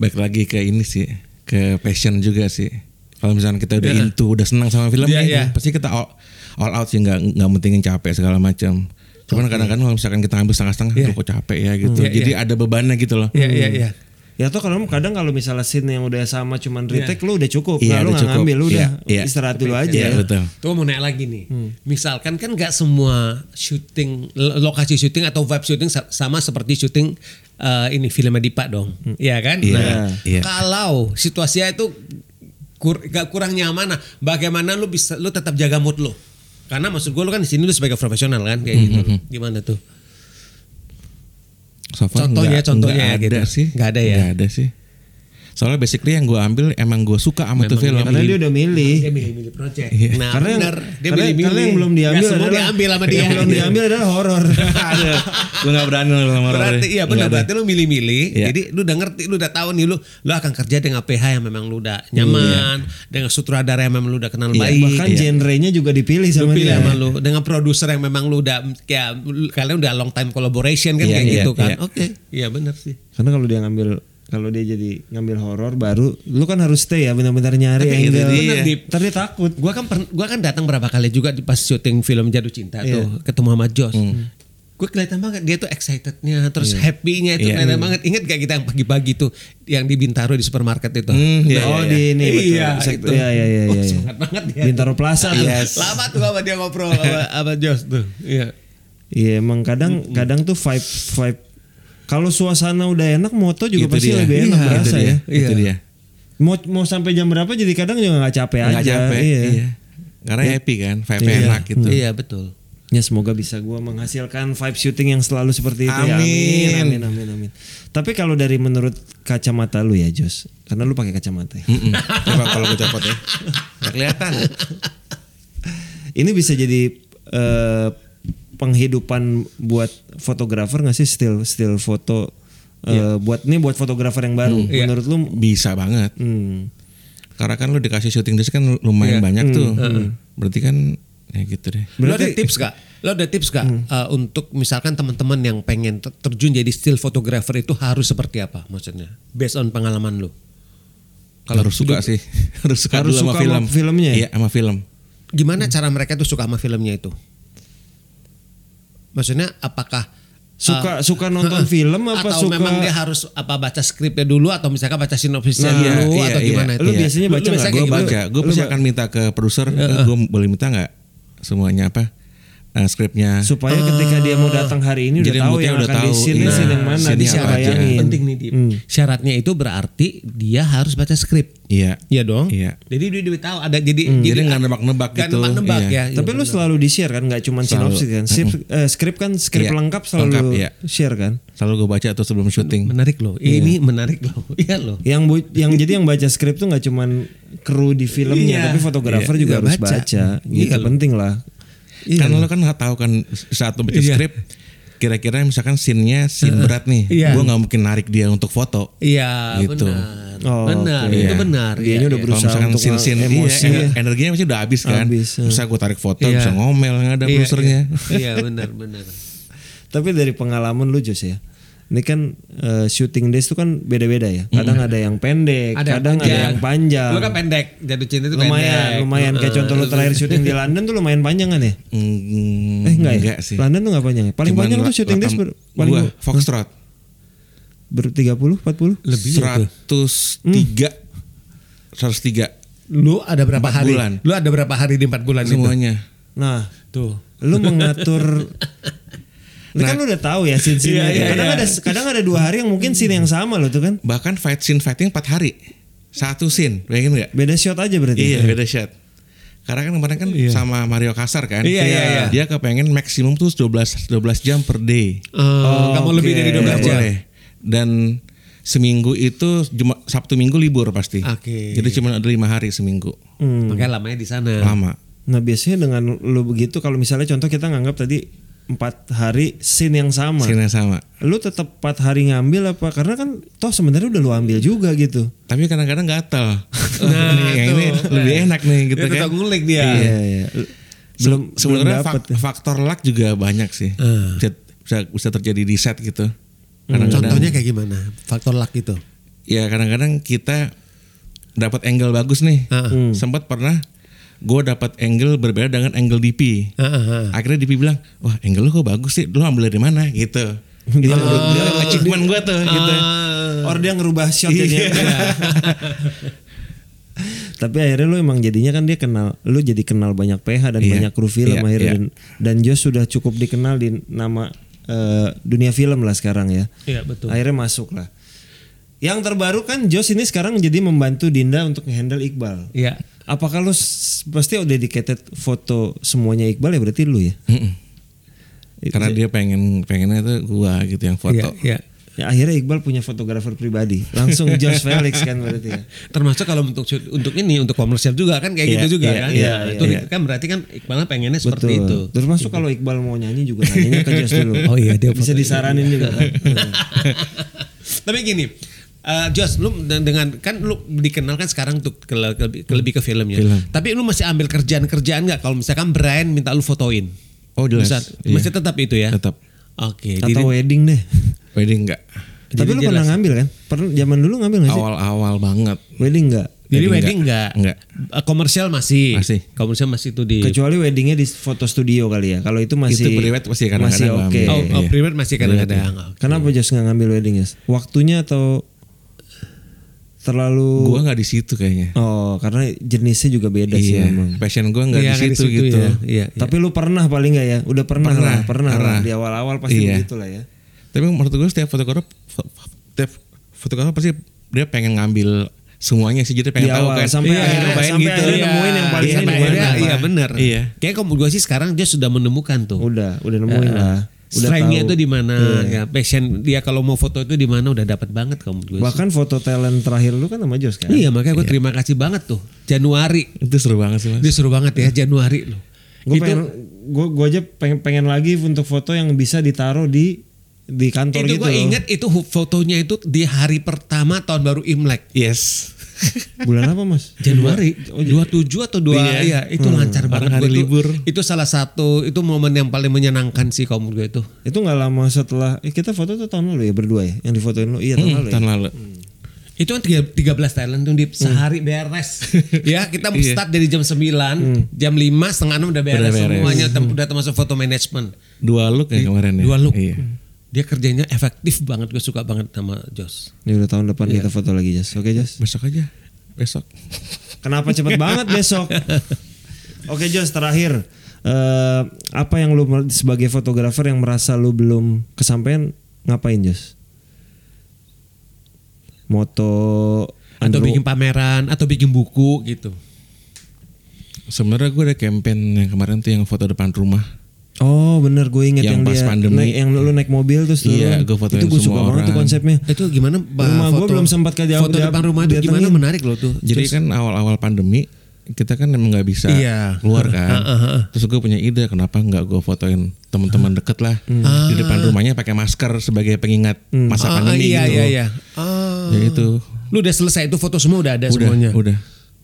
S3: Baik lagi ke ini sih, ke passion juga sih. Kalau misalnya kita udah into, udah senang sama film
S2: Iya,
S3: nih,
S2: iya.
S3: pasti kita all, all out sih, nggak nggak pentingin capek segala macam. Cuman kadang-kadang kalau misalkan kita ambil setengah-setengah,
S2: Iya.
S3: tuh kok capek ya gitu.
S2: Iya,
S3: Jadi
S2: iya.
S3: ada bebannya gitu loh.
S2: Iya, iya, iya.
S1: ya atau kalau kadang kalau misalnya scene yang udah sama cuman retake lu udah cukup nah, lu
S3: Iya, udah
S1: nggak
S3: cukup.
S1: ngambil lu
S3: Iya,
S1: udah
S3: iya.
S1: istirahat dulu aja
S3: Iya, betul.
S2: Tuh mau naik lagi nih. Misalkan kan nggak semua syuting lo- lokasi syuting atau vibe syuting sa- sama seperti syuting eh, ini film Dipa dong. Iya kan?
S3: Iya, iya.
S2: kalau situasinya itu kur gak kurang nyaman nah bagaimana lu bisa lu tetap jaga mood lu? Karena maksud gue lu kan di sini lu sebagai profesional kan kayak gitu. Gimana tuh?
S3: So far
S2: Contohnya-
S3: nggak-
S2: contohnya
S3: nggak
S2: gitu.
S3: ada sih.
S2: Nggak ada ya?
S3: Nggak ada sih. Soalnya basically yang gue ambil emang gue suka sama tuh film.
S1: karena iya, dia udah milih
S2: Dia milih-milih project. Nah,
S1: karena, yang,
S2: Iya. bener. dia
S1: karena,
S2: milih-milih.
S1: karena yang belum
S2: Nggak
S1: diambil
S2: semua
S1: adalah,
S2: diambil sama dia. Iya.
S1: yang belum diambil adalah horor
S3: Ada. gue nggak berani loh sama orang.
S2: Berarti iya benar berarti lu milih-milih.
S3: Iya.
S2: Jadi lu udah ngerti, lu udah tahu nih lu lu akan kerja dengan PH yang memang lu udah nyaman, dengan sutradara yang memang lu udah kenal baik.
S1: bahkan
S3: Iya.
S1: genre-nya juga dipilih
S2: lu
S1: sama
S2: pilih
S1: dia
S2: sama lu dengan produser yang memang lu udah kayak lu- kalian udah long time collaboration kan
S3: Iya,
S2: kayak
S3: iya,
S2: gitu kan.
S3: iya.
S2: Oke. Iya benar sih.
S1: Karena kalau dia ngambil kalau dia jadi ngambil horor baru lu kan harus stay ya benar-benar nyari
S2: Tapi itu
S3: gitu,
S1: angle.
S2: dia.
S3: iya.
S1: Bener, Dip. Ntar dia takut.
S2: Gua kan pern- gua kan datang berapa kali juga di pas syuting film Jatuh Cinta tuh
S1: Iya.
S2: ketemu sama Jos.
S1: Hmm.
S2: Gue kelihatan banget dia tuh excitednya terus happy-nya itu
S3: Iya.
S2: kelihatan banget. Ingat gak kita yang pagi-pagi tuh yang di Bintaro di supermarket itu. Nah,
S3: Hmm, iya,
S1: oh
S3: iya,
S1: di
S3: iya.
S1: ini betul.
S2: Iya,
S1: Sekte-
S2: itu.
S1: Iya iya iya
S2: Oh,
S1: iya. iya.
S2: semangat banget dia.
S1: Bintaro Plaza tuh.
S2: Lama tuh sama dia ngobrol sama, sama Jos tuh. Iya.
S1: Iya emang kadang kadang tuh vibe vibe kalau suasana udah enak moto juga
S3: Itu
S1: pasti
S3: dia.
S1: lebih enak
S3: Iya,
S1: berasa
S3: itu dia.
S1: ya.
S3: Itu
S2: Iya.
S3: dia.
S1: Mau mau sampai jam berapa jadi kadang juga nggak capek
S3: Nggak
S1: aja.
S3: capek.
S1: Iya.
S3: Iya. Karena happy kan, vibe enak gitu.
S1: Hmm.
S2: Iya betul.
S1: Ya semoga bisa gua menghasilkan vibe syuting yang selalu seperti itu. ya.
S3: Amin.
S1: amin, amin, amin. Tapi kalau dari menurut kacamata lu ya Jos, karena lu pakai kacamata. Ya.
S3: Mm-mm. Coba kalau gue copot ya. Nggak kelihatan.
S1: Ini bisa jadi eh, penghidupan buat fotografer nggak sih still still foto eh,
S2: Iya.
S1: buat nih buat fotografer yang baru.
S2: Hmm.
S1: Menurut lu?
S3: Bisa banget.
S1: hmm,
S3: Karena kan lu dikasih syuting disk kan
S2: Iya.
S3: lumayan banyak
S2: Hmm.
S3: tuh. Berarti kan ya gitu deh.
S2: lo ada tips gak? Lo ada tips gak
S1: Hmm.
S2: eh, untuk misalkan teman-teman yang pengen ter- terjun jadi still photographer itu harus seperti apa maksudnya? Based on pengalaman lo.
S3: Kalau harus suka sih, harus suka
S1: Harus
S3: dulu
S1: suka sama filmnya ya?
S3: Iya, sama film.
S2: Gimana cara mereka tuh suka sama filmnya itu? Maksudnya apakah eh,
S1: Suka suka nonton film apa
S2: atau
S1: suka
S2: memang dia harus apa baca skripnya dulu atau misalkan baca sinopsisnya
S3: Nah,
S2: dulu
S3: iya,
S2: atau
S3: iya.
S2: gimana itu
S1: Lu
S2: ya?
S1: biasanya baca
S2: lu biasanya
S1: nggak?
S3: gue
S2: kayak
S3: Nah, baca,
S2: gitu.
S3: gue pasti akan minta ke produser, gue boleh minta nggak semuanya apa eh, skripnya.
S1: supaya ketika dia mau datang hari ini udah
S3: Jadi
S1: tahu
S3: moodnya
S1: yang
S3: udah
S1: akan di
S3: tahu,
S1: scene
S3: iya.
S1: scene yang mana Hmm.
S3: Scene-nya
S1: bisa
S3: apa aja.
S1: bayangin.
S2: penting nih Dip. Hmm. Syaratnya itu berarti dia harus baca skrip.
S3: Iya.
S2: Iya dong.
S3: Iya.
S2: Jadi dia, dia tahu ada jadi
S1: Hmm,
S3: Jadi nggak nebak-nebak
S2: nggak
S3: gitu.
S2: nebak-nebak
S3: Iya.
S2: ya.
S1: Tapi lu selalu di share kan nggak cuma sinopsis kan. Sip, eh, skrip kan skrip
S3: Iya,
S1: lengkap selalu
S3: lengkap, iya.
S1: share kan.
S3: Selalu gue baca atau sebelum syuting.
S2: menarik loh. Ini menarik loh. Iya loh.
S1: Yang bu- yang jadi yang baca skrip tuh nggak cuman kru di filmnya
S2: Iya.
S1: tapi fotografer
S2: Iya,
S1: juga
S2: juga
S1: harus
S2: baca.
S1: baca. Gitu
S2: Iya loh.
S1: penting lah.
S3: Karena lo kan nggak tahu kan saat lo baca
S2: Iya.
S3: skrip, kira-kira misalkan scene-nya scene berat nih,
S2: Iya.
S3: gue nggak mungkin narik dia untuk foto.
S2: Iya
S3: Gitu.
S2: benar.
S1: Oh,
S2: benar.
S1: oke.
S2: Itu benar.
S1: Dianya
S2: Iya,
S1: udah
S2: iya.
S1: berusaha
S3: Kalau misalkan
S1: untuk
S3: scene-scene iya,
S1: emosi,
S3: ener-
S1: ya.
S3: energinya pasti udah habis kan.
S1: Habis, ya.
S3: Bisa gue tarik foto,
S2: Iya.
S3: bisa ngomel nggak ada
S2: Iya,
S3: produsernya.
S2: Iya, Iya, benar benar.
S1: Tapi dari pengalaman lu Jos ya. Ini kan eh, shooting days itu kan beda-beda ya. Kadang ada yang pendek, kadang ada yang panjang.
S2: Lu kan pendek. Jatuh cinta itu
S1: lumayan,
S2: pendek. Eh.
S1: lumayan. Kayak contoh lu terakhir syuting di London tuh lumayan panjang kan ya?
S3: Mm,
S1: Eh enggak, ya?
S3: sih.
S1: London tuh enggak panjang ya? Paling
S3: Cuman
S1: panjang tuh
S3: la-
S1: syuting days
S3: lakam-
S1: ber, paling
S3: gua, Foxtrot.
S1: ber 30, 40?
S2: Lebih Hmm. ya tuh.
S3: 103 103
S2: Lu ada berapa
S3: Empat
S2: hari?
S3: bulan.
S2: Lu ada berapa hari di 4 bulan itu?
S3: semuanya.
S1: Nah,
S2: Tuh.
S1: lu mengatur Lu kan lu udah tahu ya scene scene
S3: Iya, iya,
S1: kadang
S3: iya.
S1: ada kadang ada dua hari yang mungkin scene yang sama loh tuh kan.
S3: Bahkan fight scene fighting 4 hari. Satu scene, bayangin enggak?
S1: Beda shot aja berarti.
S3: Iya, beda shot. Karena kan kemarin kan sama Mario Kasar kan.
S2: Iya, iya, iya.
S3: Dia kepengen maksimum tuh 12 12 jam per
S2: Eh,
S3: day.
S2: nggak mau lebih
S1: oke.
S2: dari 12
S3: Nggak
S2: jam.
S3: boleh. Dan seminggu itu Juma, Sabtu Minggu libur pasti.
S2: Oke. Iya.
S3: Jadi cuma ada lima hari seminggu.
S2: Hmm. Makanya lamanya di sana.
S3: Lama.
S1: Nah, biasanya dengan lu begitu kalau misalnya contoh kita nganggap tadi empat hari scene yang sama.
S3: Scene yang sama.
S1: Lu tetap empat hari ngambil apa? Karena kan toh sebenarnya udah lu ambil juga gitu.
S3: Tapi kadang-kadang gatal. Nah, yang ini lebih enak nih gitu
S2: Dia
S3: kan.
S2: tetap ngulik dia.
S1: Iya, iya. Belum
S3: Se- sebenarnya
S1: belum dapet. ya.
S3: fak- faktor luck juga banyak sih.
S2: Eh.
S3: Bisa, bisa bisa terjadi di set gitu. Kadang-kadang
S2: Hmm, Contohnya kayak gimana? Faktor luck itu.
S3: ya kadang-kadang kita dapat angle bagus nih.
S2: Heeh.
S3: Sempat pernah gue dapat angle berbeda dengan angle DP.
S2: Heeh, heeh.
S3: Akhirnya DP bilang, "Wah, angle lu kok bagus sih. Lu ambil dari mana?" gitu. Dia dia achievement gue tuh gitu.
S2: Ah.
S1: Or dia ngerubah shot jadinya. Tapi akhirnya lu emang jadinya kan dia kenal, lu jadi kenal banyak PH dan
S3: Iya.
S1: banyak kru film
S3: Iya,
S1: akhirnya
S3: iya.
S1: dan, dan Jos sudah cukup dikenal di nama eh, dunia film lah sekarang ya.
S2: Iya, betul.
S1: Akhirnya masuk lah. Yang terbaru kan Jos ini sekarang jadi membantu Dinda untuk handle Iqbal.
S2: Iya.
S1: Apakah lu s- pasti dedicated foto semuanya Iqbal ya berarti lu ya?
S3: Mm-mm. Karena dia pengen pengennya tuh gua gitu yang foto.
S2: Iya, iya.
S1: Ya, akhirnya Iqbal punya fotografer pribadi. Langsung Jos Felix kan berarti ya.
S2: Termasuk kalau untuk shoot- untuk ini untuk komersial juga kan kayak
S3: Iya,
S2: gitu juga
S3: iya,
S2: kan.
S1: iya,
S2: Itu
S1: iya.
S2: kan berarti kan Iqbal pengennya seperti itu.
S1: Betul. Terus masuk kalau Iqbal mau nyanyi juga nanyanya ke Jos dulu.
S2: Oh iya, dia
S1: bisa
S2: foto-
S1: disaranin juga kan.
S2: Tapi gini, eh Jos, lu de- dengan kan lu dikenalkan sekarang untuk ke, ke- ke- lebih ke filmnya.
S3: Film.
S2: Tapi lu masih ambil kerjaan-kerjaan nggak? Kalau misalkan Brian minta lu fotoin,
S3: Oh, jelas.
S2: Bisa-
S3: Iya.
S2: masih tetap itu ya?
S3: Tetap.
S2: Oke. jadi-
S1: Atau wedding deh.
S3: Wedding enggak?
S1: Tapi lu pernah ngambil kan? Pernah zaman dulu ngambil gak sih?
S3: Awal-awal banget.
S1: Wedding enggak?
S2: Jadi
S3: Wedding
S2: wedding
S3: nggak?
S2: enggak? Eh, komersial masih.
S3: Masih.
S2: Komersial masih itu di
S1: Kecuali weddingnya di foto studio kali ya. Kalau itu masih
S3: Itu private masih kadang-kadang
S1: masih
S3: gua
S1: oke.
S3: ambil.
S2: Oh, oh,
S3: Iya.
S2: private masih kadang-kadang. Oh.
S1: Kenapa Jos nggak ngambil wedding Jos? Waktunya atau terlalu
S3: Gua nggak di situ kayaknya.
S1: Oh, karena jenisnya juga beda sih
S3: Iya.
S1: memang.
S3: Passion gua nggak
S2: Iya,
S3: di
S2: nggak di
S3: situ
S2: situ
S3: gitu.
S2: ya. Iya,
S1: Tapi lu pernah paling nggak ya? Udah pernah,
S3: Pernah,
S1: lah, pernah,
S3: pernah.
S1: lah. Di awal-awal pasti
S3: Iya.
S1: begitu lah ya.
S3: Tapi menurut gue setiap fotografer setiap fotografer pasti dia pengen ngambil semuanya sih jadi pengen
S1: Di
S3: tahu
S1: awal,
S3: kan
S1: sampai
S3: Iya,
S1: akhirnya-
S3: nyobain
S1: sampai akhirnya
S3: Iya.
S1: nemuin yang paling
S3: Iya,
S1: ini
S3: sampai
S1: gimana,
S3: akhirnya,
S1: apa.
S2: gitu. Iya benar.
S3: Iya.
S2: Kayaknya kalau gue sih sekarang dia sudah menemukan tuh.
S1: Udah, udah nemuin lah. Udah
S2: Strength-nya
S1: tahu.
S2: itu di mana? Ya, passion dia kalau mau foto itu di mana udah dapat banget kamu gue.
S1: Bahkan foto talent terakhir lu kan sama Jos kan?
S2: Iya makanya gue terima kasih banget tuh Januari
S3: Itu seru banget sih mas.
S2: dia seru banget ya Januari loh.
S1: Gue
S2: itu
S1: pengen, gue gue aja pengen pengen lagi untuk foto yang bisa ditaruh di di kantor
S2: itu
S1: gitu.
S2: gue
S1: loh.
S2: inget itu hu- fotonya itu di hari pertama tahun baru Imlek
S3: Yes.
S1: Bulan apa mas?
S2: Januari 27 atau 2
S3: Iya.
S2: iya itu lancar
S3: Orang
S2: banget
S3: hari
S2: Gua tuh-
S3: libur.
S2: itu salah satu itu momen yang paling menyenangkan sih kalau menurut gue itu
S1: Itu nggak lama setelah eh, kita foto tuh tahun lalu ya berdua ya yang difotoin lu iya tahun lalu. Ya?
S3: Hmm, Tahun lalu.
S2: itu kan tiga- 13 Thailand tuh di
S1: Hmm.
S2: sehari beres ya kita
S1: Iya.
S2: start dari jam 9
S1: Hmm.
S2: jam 5 setengah 6 udah beres,
S3: Udah beres.
S2: semuanya tem- udah termasuk foto manajemen
S3: Dua look ya kemarin ya.
S2: dua look Hmm.
S3: Iya.
S2: Dia kerjanya efektif banget. Gue suka banget sama Jos.
S1: Ini udah tahun depan kita foto lagi Jas. Oke Jas.
S3: Besok aja. Besok.
S1: Kenapa cepet banget besok? Oke Jos terakhir. Eh, apa yang lu mer- sebagai fotografer yang merasa lu belum kesampaian ngapain Jos? Moto
S2: Atau
S1: Andrew-
S2: bikin pameran, atau bikin buku gitu.
S3: Sebenarnya gue ada campaign yang kemarin tuh yang foto depan rumah.
S1: Oh bener gue inget yang,
S3: Yang pas
S1: dia
S3: pandemi.
S1: naik- yang lu naik mobil terus
S3: Iya,
S1: turun.
S3: gue fotoin
S1: Itu gue suka
S3: semua
S1: banget tuh
S3: orang.
S1: konsepnya.
S2: Itu gitu. gimana? Pak?
S1: Rumah gua
S2: Foto-
S1: belum sempat ke dia-
S2: Foto
S1: dia-
S2: depan rumah itu gimana
S1: datengin.
S2: menarik loh tuh.
S3: Jadi kan awal-awal pandemi kita kan emang nggak bisa
S2: Iya.
S3: keluar kan.
S2: Ah, ah, ah.
S3: Terus gue punya ide kenapa nggak gue fotoin teman-teman deket lah di depan rumahnya pakai masker sebagai pengingat
S2: Hmm.
S3: masa
S2: Ah,
S3: pandemi
S2: iya,
S3: gitu.
S2: iya, iya. Ah.
S3: Ya itu
S2: Lu udah selesai itu foto semua udah ada
S3: udah
S2: semuanya.
S3: udah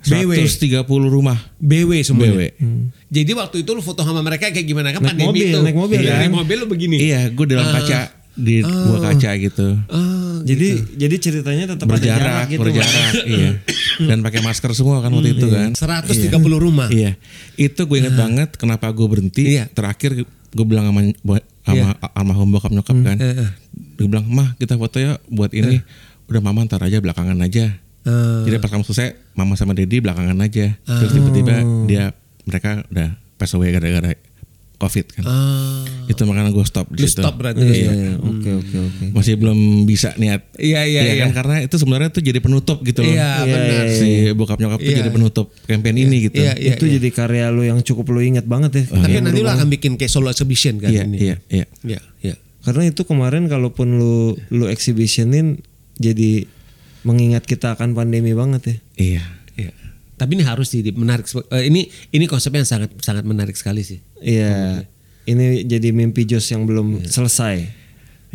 S2: BW.
S3: 130 rumah
S2: BW semuanya. Hmm.
S3: BW.
S2: Jadi waktu itu lu foto sama mereka kayak gimana kan
S1: Naik
S2: pandemi
S1: mobil,
S2: tuh.
S1: naik mobil
S2: Iya,
S1: kan?
S2: Naik mobil lu begini.
S3: Iya, gue dalam kaca di dua kaca gitu.
S2: Ah,
S1: Jadi jadi ceritanya tetap ada jarak
S3: berjarak,
S1: gitu.
S3: berjarak, iya. Dan pakai masker semua kan
S2: Iya.
S3: waktu itu kan.
S2: 130 rumah.
S3: Iya. Itu gue inget banget kenapa gue berhenti.
S2: Iya.
S3: Terakhir gue bilang sama buat sama almarhum bokap nyokap kan.
S2: eh.
S3: Gue bilang, "Mah, kita foto ya buat
S2: Iya.
S3: ini. Udah mama ntar aja belakangan aja."
S2: Ah.
S3: Jadi pas kamu selesai, mama sama Dedi belakangan aja.
S2: Oh.
S3: Terus tiba-tiba dia mereka udah pass away gara-gara covid kan.
S2: Ah.
S3: Itu makanya gue stop di
S2: Lu
S3: situ.
S2: stop berarti. kan ya?
S1: Iya, iya, iya. Oke oke oke.
S3: Masih belum bisa niat.
S2: Iya, iya,
S3: Iya
S2: iya.
S3: kan karena itu sebenarnya tuh jadi penutup gitu loh.
S2: Iya,
S1: Iya,
S2: benar.
S1: iya,
S3: si bokap nyokap tuh
S2: Iya.
S3: jadi penutup campaign ini gitu.
S2: Iya, iya.
S1: itu jadi karya lu yang cukup lu ingat banget ya.
S2: Tapi nanti lu akan bikin kayak solo exhibition kan
S3: Iya,
S2: ini.
S3: iya, iya.
S2: Iya, iya.
S1: Karena itu kemarin kalaupun lu lu exhibitionin jadi mengingat kita akan pandemi banget ya.
S3: Iya.
S2: Iya. Tapi ini harus jadi menarik. sebe- eh, ini ini konsepnya yang sangat sangat menarik sekali sih.
S1: Iya. Ini jadi mimpi Jos yang belum selesai.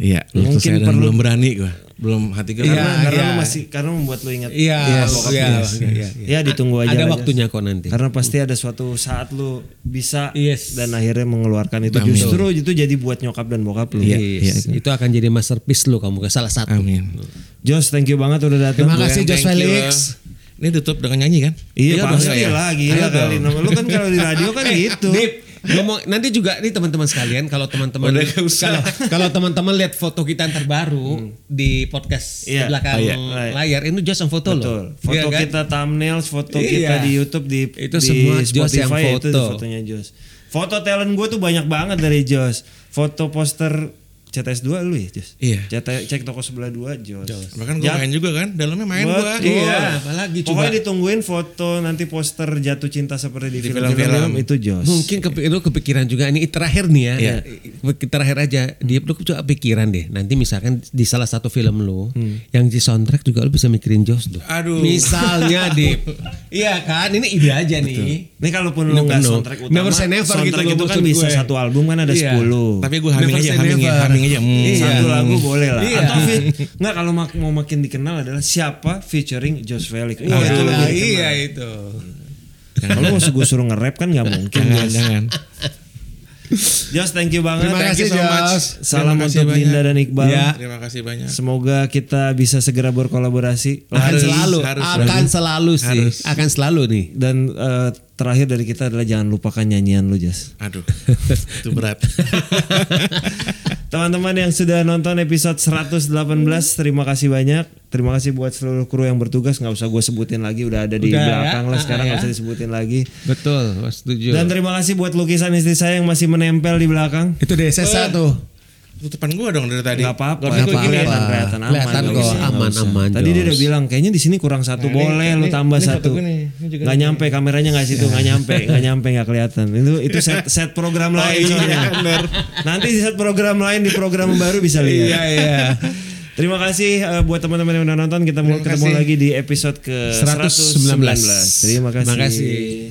S3: Iya, belum
S1: Mungkin
S3: selesai dan
S1: perlu-
S3: belum berani gua. Belum hati gue.
S1: Karena
S2: Iya,
S1: karena
S2: iya.
S1: lu masih karena membuat lu ingat.
S2: Iya,
S1: Yes,
S2: iya,
S1: yes,
S2: iya,
S1: yes. Ya
S2: iya,
S1: ditunggu aja. lah,
S2: Ada
S1: Jos.
S2: waktunya kok nanti.
S1: Karena pasti ada suatu saat lu bisa
S2: Yes.
S1: dan akhirnya mengeluarkan itu. Justru itu jadi buat nyokap dan bokap lu.
S3: Iya.
S2: Yes, Itu akan jadi masterpiece lu kamu salah satu.
S3: Amin.
S1: Jos, thank you banget udah datang.
S2: Terima kasih Jos
S3: Thank you.
S2: Felix.
S3: Ini tutup dengan nyanyi kan?
S1: Iya, pasti
S3: dong.
S1: lah gila kali. Lu kan kalau di radio kan gitu.
S2: Dip, ngomong nanti juga nih teman-teman sekalian kalau teman-teman kalau kalau teman-teman lihat foto kita yang terbaru di podcast
S1: Hmm. Iya.
S2: belakang
S1: Ah, iya.
S2: layar ini Jos yang foto
S1: Betul.
S2: loh.
S1: Foto
S2: Iya kan?
S1: kita thumbnails, foto
S2: Iya.
S1: kita di YouTube di
S2: Itu
S1: di
S2: semua Jos yang
S1: Spotify, itu
S2: foto.
S1: fotonya Jos. Foto talent gue tuh banyak banget dari Jos. Foto poster CTS 2 lu ya Jos.
S3: Iya.
S1: CT cek toko sebelah 2 Jos.
S3: Bahkan gue
S1: Ya.
S3: main juga kan, dalamnya main
S1: Betul.
S3: gua.
S2: Iya, apalagi
S1: Pokoknya
S2: coba.
S1: ditungguin foto nanti poster jatuh cinta seperti di,
S3: film-film.
S1: film-film itu Jos.
S2: Mungkin kepi- lu kepikiran juga ini terakhir nih ya.
S3: Iya.
S2: Ke- Terakhir aja dia lu juga kepikiran deh. Nanti misalkan di salah satu film lu
S1: Hmm.
S2: yang di soundtrack juga lu bisa mikirin Jos tuh.
S3: Aduh.
S2: Misalnya Dip. iya kan? Ini ide aja nih.
S1: Ini kalaupun lu
S2: Never
S1: nggak
S2: know.
S1: soundtrack utama,
S2: Never say never gitu
S1: soundtrack
S2: loh
S1: itu kan
S2: maksud
S1: bisa
S2: gue.
S1: satu album kan ada
S2: Iya.
S1: 10.
S3: Tapi gue haming
S2: Never
S3: aja,
S2: say
S3: haming ya,
S2: never.
S3: haming aja. Hmm.
S2: Iya.
S1: satu lagu boleh lah.
S2: Iya.
S1: Atau fit, nggak kalau mak- mau makin dikenal adalah siapa featuring Josh Felix. Wah,
S2: Iya,
S1: itu lebih dikenal.
S2: iya itu.
S1: Kalau mau gue suruh nge-rap kan nggak mungkin.
S3: Jangan, jangan.
S1: Josh thank you banget.
S2: Terima
S1: Thank
S2: kasih,
S1: you so much.
S2: Jos.
S1: Salam
S3: Terima kasih
S1: untuk Linda
S3: banyak.
S1: dan Iqbal.
S2: Iya.
S3: Terima kasih banyak.
S1: Semoga kita bisa segera berkolaborasi.
S2: Akan
S3: Harus,
S2: selalu,
S3: harus,
S2: akan
S3: harus.
S2: selalu sih,
S3: Harus.
S2: akan selalu nih.
S1: Dan eh, terakhir dari kita adalah jangan lupakan nyanyian lu Josh.
S3: Aduh, itu berat.
S1: Teman-teman yang sudah nonton episode 118 terima kasih banyak. Terima kasih buat seluruh kru yang bertugas nggak usah gue sebutin lagi udah ada di
S2: Udah ya.
S1: belakang lah
S2: Ah,
S1: sekarang nggak
S2: ya.
S1: usah disebutin lagi.
S2: Betul, setuju.
S1: Dan terima kasih buat lukisan istri saya yang masih menempel di belakang.
S2: itu deh saya tuh.
S3: Tutupan gue dong dari tadi.
S1: Gak apa-apa,
S2: Nggak
S1: Kok gini?
S2: apa-apa.
S1: kelihatan aman.
S2: Kelihatan
S1: nggak
S2: kok,
S1: usah, nggak
S2: aman,
S1: usah.
S2: aman,
S1: Tadi dia
S2: Jos.
S1: udah bilang kayaknya di sini kurang satu
S3: Nah, ini-
S1: boleh lu
S3: ini-
S1: tambah
S3: ini foto
S1: satu.
S3: gue nih, ini juga Iya.
S1: Gak nyampe kameranya nggak situ, nggak nyampe, nggak nyampe nggak kelihatan. Itu itu set set
S3: Oh,
S1: program lain
S3: iya,
S1: soalnya. Nanti di set program lain di program baru bisa lihat.
S2: Iya, iya.
S1: Terima kasih eh, buat teman-teman yang udah nonton. Kita mau ketemu
S3: kasih.
S1: lagi di episode ke 119.
S2: 119.
S1: Terima kasih.
S2: Terima kasih.